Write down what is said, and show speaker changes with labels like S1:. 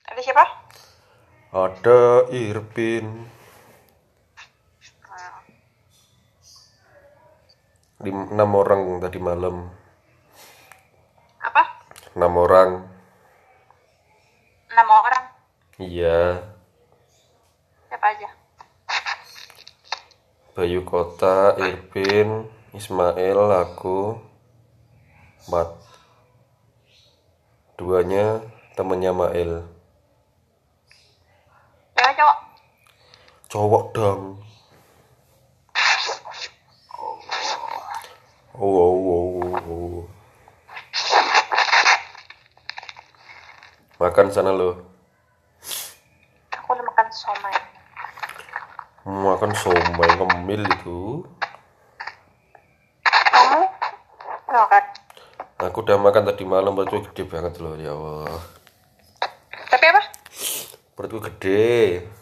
S1: Ada siapa?
S2: Ada Irpin.
S1: Nah,
S2: Lim- enam orang tadi malam.
S1: apa?
S2: Enam orang.
S1: Enam orang.
S2: Iya.
S1: Siapa aja?
S2: Bayu Kota, Irpin, Ismail, aku. Empat. Duanya temennya Mail.
S1: Cewek cowok.
S2: Cowok dong. Oh, oh, oh, oh, oh. Makan sana lo.
S1: Aku udah makan somai.
S2: Makan somai ngemil itu.
S1: Kamu? Nggak makan.
S2: Aku udah makan tadi malam perutku gede banget loh ya Allah.
S1: Tapi apa?
S2: Perutku gede.